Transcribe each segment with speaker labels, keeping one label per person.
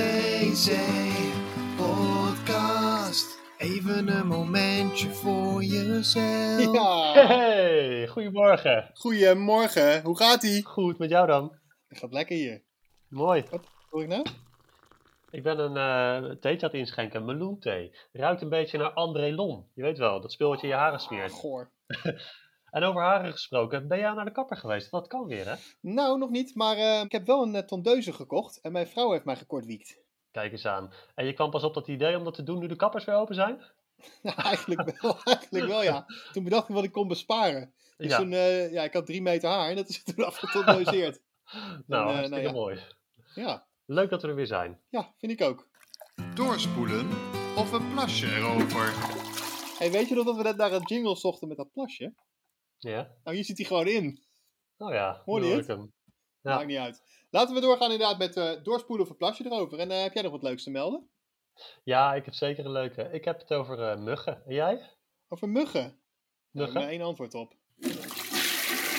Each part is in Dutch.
Speaker 1: WC Podcast. Even een momentje voor jezelf.
Speaker 2: Ja,
Speaker 3: Hey, goedemorgen.
Speaker 2: goedemorgen. Hoe gaat ie?
Speaker 3: Goed, met jou dan?
Speaker 2: Het gaat lekker hier.
Speaker 3: Mooi.
Speaker 2: Hoor ik nou?
Speaker 3: Ik ben een eh theetje aan het inschenken, meloenthee. Ruikt een beetje naar André Lon. Je weet wel, dat spul wat je in je haren smeert.
Speaker 2: Ah, Goor.
Speaker 3: En over haren gesproken, ben jij naar de kapper geweest? Dat kan weer, hè?
Speaker 2: Nou, nog niet, maar eh, ik heb wel een eh, tondeuze gekocht en mijn vrouw heeft mij gekortwiekt.
Speaker 3: Kijk eens aan. En je kwam pas op dat idee om dat te doen nu de kappers weer open zijn?
Speaker 2: Nou, eigenlijk wel, eigenlijk wel ja. Toen bedacht ik wat ik kon besparen. Dus
Speaker 3: ja,
Speaker 2: toen, eh, ja, ik had drie meter haar en dat is toen afgetondeuseerd. eh,
Speaker 3: nou,
Speaker 2: nou
Speaker 3: hartstikke
Speaker 2: ja.
Speaker 3: mooi.
Speaker 2: Ja,
Speaker 3: Leuk dat we er weer zijn.
Speaker 2: ja, vind ik ook.
Speaker 1: Doorspoelen of een plasje erover.
Speaker 2: hey, weet je nog dat we net naar een jingle zochten met dat plasje?
Speaker 3: Ja?
Speaker 2: Nou, hier zit hij gewoon in.
Speaker 3: Nou ja,
Speaker 2: Hoorde
Speaker 3: nu
Speaker 2: je
Speaker 3: hoor ik hem. Ja.
Speaker 2: Maakt niet uit. Laten we doorgaan inderdaad met eh, doorspoelen of een plasje erover. En eh, heb jij nog wat leuks te melden?
Speaker 3: Ja, ik heb zeker een leuke. Ik heb het over eh, muggen. En jij?
Speaker 2: Over muggen? Daar heb ik
Speaker 3: Muggen?
Speaker 2: maar één antwoord op.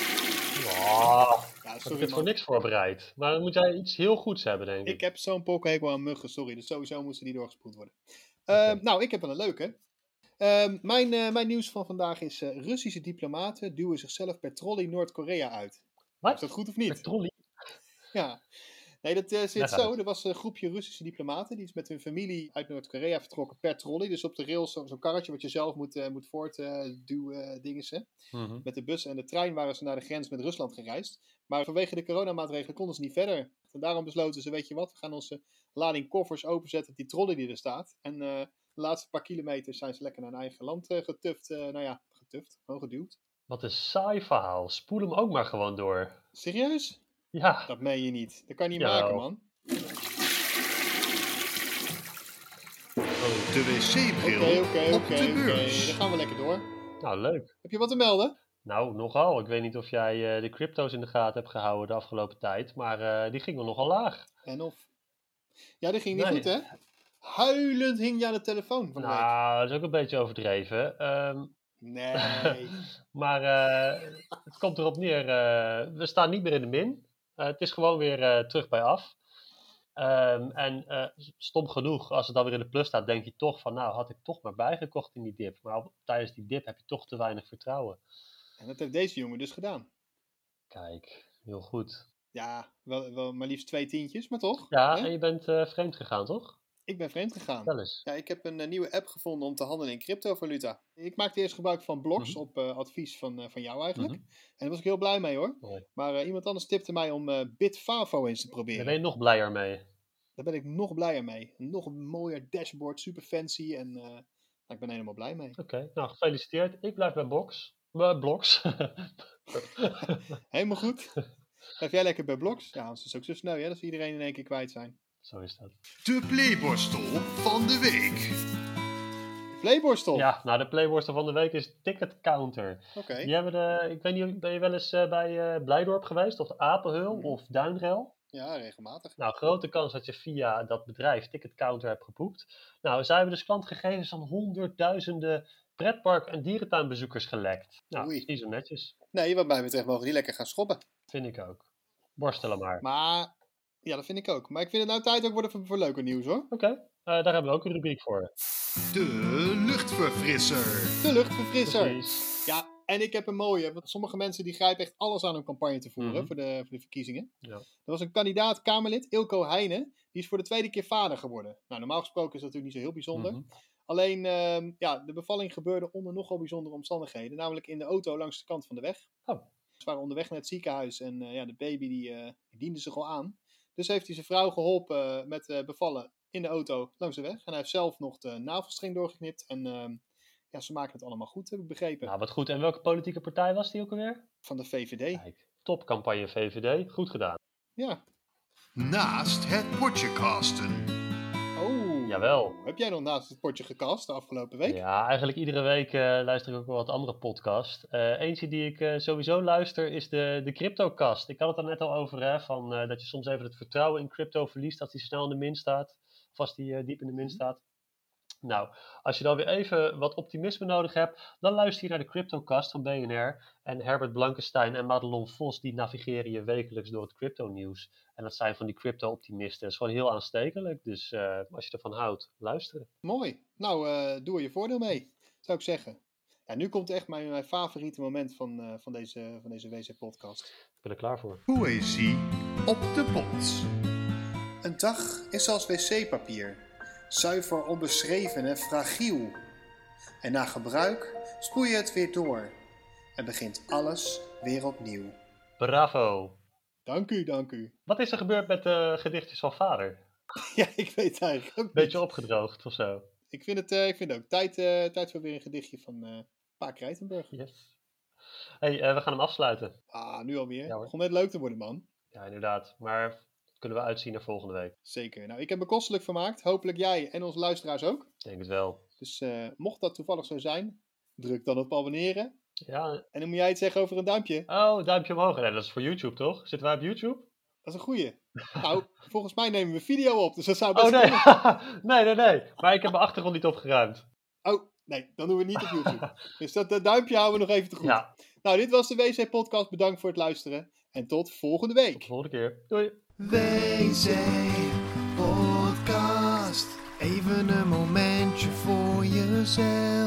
Speaker 3: Ja,
Speaker 2: Ja,
Speaker 3: ik Ah, heb
Speaker 2: sorry
Speaker 3: het voor
Speaker 2: man.
Speaker 3: niks voorbereid. Maar dan moet jij iets heel goeds hebben, denk ik.
Speaker 2: Ik heb zo'n pokkenhekel aan muggen, sorry. Dus sowieso moesten die doorgespoeld worden.
Speaker 3: Oké.
Speaker 2: Ehm, nou, ik heb wel een leuke. Ehm, mijn, eh, mijn nieuws van vandaag is... eh, Russische diplomaten duwen zichzelf per trolley Noord-Korea uit.
Speaker 3: Wat?
Speaker 2: Is dat goed of
Speaker 3: Met
Speaker 2: niet?
Speaker 3: trolley?
Speaker 2: Ja. Nee, dat eh,
Speaker 3: Daar
Speaker 2: zit
Speaker 3: gaat
Speaker 2: zo. Er was een groepje Russische diplomaten. Die is met hun familie uit Noord-Korea vertrokken per trolley. Dus op de rails zo- zo'n karretje wat je zelf moet, eh, moet voortduwen, eh, dingen ze.
Speaker 3: Mhm.
Speaker 2: Met de bus en de trein waren ze naar de grens met Rusland gereisd. Maar vanwege de coronamaatregelen konden ze niet verder. En daarom besloten ze, weet je wat, we gaan onze lading koffers openzetten op die trolley die er staat. En eh, de laatste paar kilometers zijn ze lekker naar hun eigen land eh, getuft. Eh, nou ja, getuft, gewoon geduwd.
Speaker 3: Wat een saai verhaal. Spoel hem ook maar gewoon door.
Speaker 2: Serieus?
Speaker 3: Ja,
Speaker 2: Dat meen je niet. Dat kan je niet
Speaker 3: Jawel.
Speaker 2: maken, man.
Speaker 3: oh,
Speaker 1: De wc-bril
Speaker 2: Oké, oké,
Speaker 1: op de
Speaker 2: oké, oké.
Speaker 1: beurs.
Speaker 2: Dan gaan we lekker door.
Speaker 3: nou leuk.
Speaker 2: Heb je wat te melden?
Speaker 3: Nou, nogal. Ik weet niet of jij eh, de crypto's in de gaten hebt gehouden de afgelopen tijd, maar eh, die gingen nogal laag.
Speaker 2: En of? Ja, dat ging niet
Speaker 3: Nee.
Speaker 2: goed, hè? Huilend hing je aan de telefoon van de week.
Speaker 3: Nou, dat is ook een beetje overdreven. Ehm,
Speaker 2: Nee.
Speaker 3: maar eh, het komt erop neer, eh, we staan niet meer in de min. Eh, het is gewoon weer eh, terug bij af. Ehm, en eh, stom genoeg, als het dan weer in de plus staat, denk je toch van, nou had ik toch maar bijgekocht in die dip. Maar op- tijdens die dip heb je toch te weinig vertrouwen.
Speaker 2: En dat heeft deze jongen dus gedaan.
Speaker 3: Kijk, heel goed.
Speaker 2: Ja, wel, wel maar liefst twee tientjes, maar toch?
Speaker 3: Ja,
Speaker 2: Hè?
Speaker 3: en je bent eh, vreemd gegaan, toch?
Speaker 2: Ik ben vreemd gegaan.
Speaker 3: Wel eens.
Speaker 2: Ja, ik heb een, eh, nieuwe app gevonden om te handelen in cryptovaluta. Ik maakte eerst gebruik van blogs
Speaker 3: Mhm.
Speaker 2: op eh, advies van, eh, van jou eigenlijk. En daar was ik heel blij mee hoor.
Speaker 3: Mooi.
Speaker 2: Maar eh, iemand anders tipte mij om eh Bitfavo eens te
Speaker 3: Daar
Speaker 2: proberen.
Speaker 3: ben je nog blijer mee.
Speaker 2: Daar ben ik nog blijer mee. Nog een mooier dashboard, super fancy. En eh, nou, ik ben helemaal blij mee.
Speaker 3: Oké, nou gefeliciteerd. Ik blijf bij Box. Bij Bloks.
Speaker 2: Helemaal goed. Blijf jij lekker bij blogs? Ja, anders is het ook zo snel hè, dat ze iedereen in één keer kwijt zijn.
Speaker 3: Zo is dat.
Speaker 1: De playborstel van de week.
Speaker 2: Playborstel.
Speaker 3: Ja, nou de playborstel van de week is Ticket Counter.
Speaker 2: Oké.
Speaker 3: Die hebben de, ik weet niet, ben je wel eens eh, bij eh, Blijdorp geweest? Of de Apenheul
Speaker 2: Mhm.
Speaker 3: of Duinrel?
Speaker 2: ja, regelmatig.
Speaker 3: Nou, grote kans dat je via dat bedrijf Ticket Counter hebt geboekt. Nou, zij hebben dus klantgegevens van honderdduizenden pretpark- en dierentuinbezoekers gelekt. Nou,
Speaker 2: Oei.
Speaker 3: niet zo netjes.
Speaker 2: Nee, wat mij betreft mogen die lekker gaan schobben.
Speaker 3: Vind ik ook. Borstelen maar.
Speaker 2: Maar ja, dat vind ik ook. Maar ik vind het nou tijd ook worden voor, voor leuker nieuws hoor.
Speaker 3: Oké, eh, daar hebben we ook een rubriek voor.
Speaker 1: De luchtverfrisser.
Speaker 2: De luchtverfrisser.
Speaker 3: Precies.
Speaker 2: Ja, en ik heb een mooie. Want sommige mensen die grijpen echt alles aan om campagne te voeren
Speaker 3: Mhm.
Speaker 2: voor, de, voor de verkiezingen.
Speaker 3: Ja.
Speaker 2: Er was een kandidaat Kamerlid, Ilko Heijnen. Die is voor de tweede keer vader geworden. Nou, normaal gesproken is dat natuurlijk niet zo heel bijzonder.
Speaker 3: Mhm.
Speaker 2: Alleen, ehm, ja, de bevalling gebeurde onder nogal bijzondere omstandigheden. Namelijk in de auto langs de kant van de weg.
Speaker 3: Oh.
Speaker 2: Ze waren onderweg naar het ziekenhuis en eh, ja, de baby die, eh, die diende zich al aan. Dus heeft hij zijn vrouw geholpen eh, met eh, bevallen in de auto langs de weg. En hij heeft zelf nog de navelstreng doorgeknipt. En ehm, ja, ze maken het allemaal goed, heb ik begrepen.
Speaker 3: Nou, wat goed. En welke politieke partij was die ook alweer?
Speaker 2: Van de VVD. Ja.
Speaker 3: Kijk, topcampagne VVD. Goed gedaan.
Speaker 1: Naast het potje casten.
Speaker 2: Oh.
Speaker 3: Jawel.
Speaker 2: Heb jij nog naast het potje gekast de afgelopen week?
Speaker 3: Ja, eigenlijk iedere week eh, luister ik ook wel wat andere podcast. Eh, eentje die ik eh, sowieso luister is de, de CryptoCast. Ik had het er net al over, hè, van, eh, dat je soms even het vertrouwen in crypto verliest als die snel in de min staat. Of als die eh, diep in de min staat. Nou, als je dan weer even wat optimisme nodig hebt, dan luister je naar de CryptoCast van BNR. En Herbert Blankenstein en Madelon Vos, die navigeren je wekelijks door het crypto-nieuws. En dat zijn van die crypto-optimisten. Dat is gewoon heel aanstekelijk. Dus eh, als je ervan houdt, luisteren.
Speaker 2: Mooi. Nou, eh, doe er je voordeel mee, zou ik zeggen. Ja, nu komt echt mijn, mijn favoriete moment van, eh, van deze, van deze WC-podcast.
Speaker 3: Ik ben er klaar voor.
Speaker 2: Poëzie op de pot. Een dag is als wc-papier. Zuiver, onbeschreven en fragiel. En na gebruik spoei je het weer door. En begint alles weer opnieuw.
Speaker 3: Bravo!
Speaker 2: Dank u, dank u.
Speaker 3: Wat is er gebeurd met de gedichtjes van vader?
Speaker 2: Ja, ik weet het eigenlijk ook niet.
Speaker 3: Beetje opgedroogd of zo.
Speaker 2: Ik vind het, eh, ik vind het ook tijd, eh, tijd voor weer een gedichtje van eh Pa Krijtenburg.
Speaker 3: Yes. hey, eh, we gaan hem afsluiten.
Speaker 2: Ah, nu alweer.
Speaker 3: Ja, hoor.
Speaker 2: Begon net leuk te worden, man.
Speaker 3: Ja, inderdaad. Maar kunnen we uitzien naar volgende week?
Speaker 2: Zeker. Nou, ik heb me kostelijk vermaakt. Hopelijk jij en onze luisteraars ook.
Speaker 3: Ik denk het wel.
Speaker 2: Dus eh, mocht dat toevallig zo zijn, druk dan op abonneren.
Speaker 3: Ja.
Speaker 2: En dan moet jij het zeggen over een duimpje.
Speaker 3: Oh, duimpje omhoog. Nee, dat is voor YouTube, toch? Zitten wij op YouTube?
Speaker 2: Dat is een goeie. Nou, volgens mij nemen we video op, dus dat zou best
Speaker 3: Oh nee.
Speaker 2: kunnen.
Speaker 3: nee, nee, nee. Maar ik heb mijn achtergrond niet opgeruimd.
Speaker 2: Oh, nee, dan doen we het niet op YouTube. dus dat, dat duimpje houden we nog even te goed.
Speaker 3: Ja,
Speaker 2: Nou, dit was de WC Podcast. Bedankt voor het luisteren. En tot volgende week.
Speaker 3: tot de volgende keer. Doei.
Speaker 1: WC Podcast. Even een momentje voor jezelf.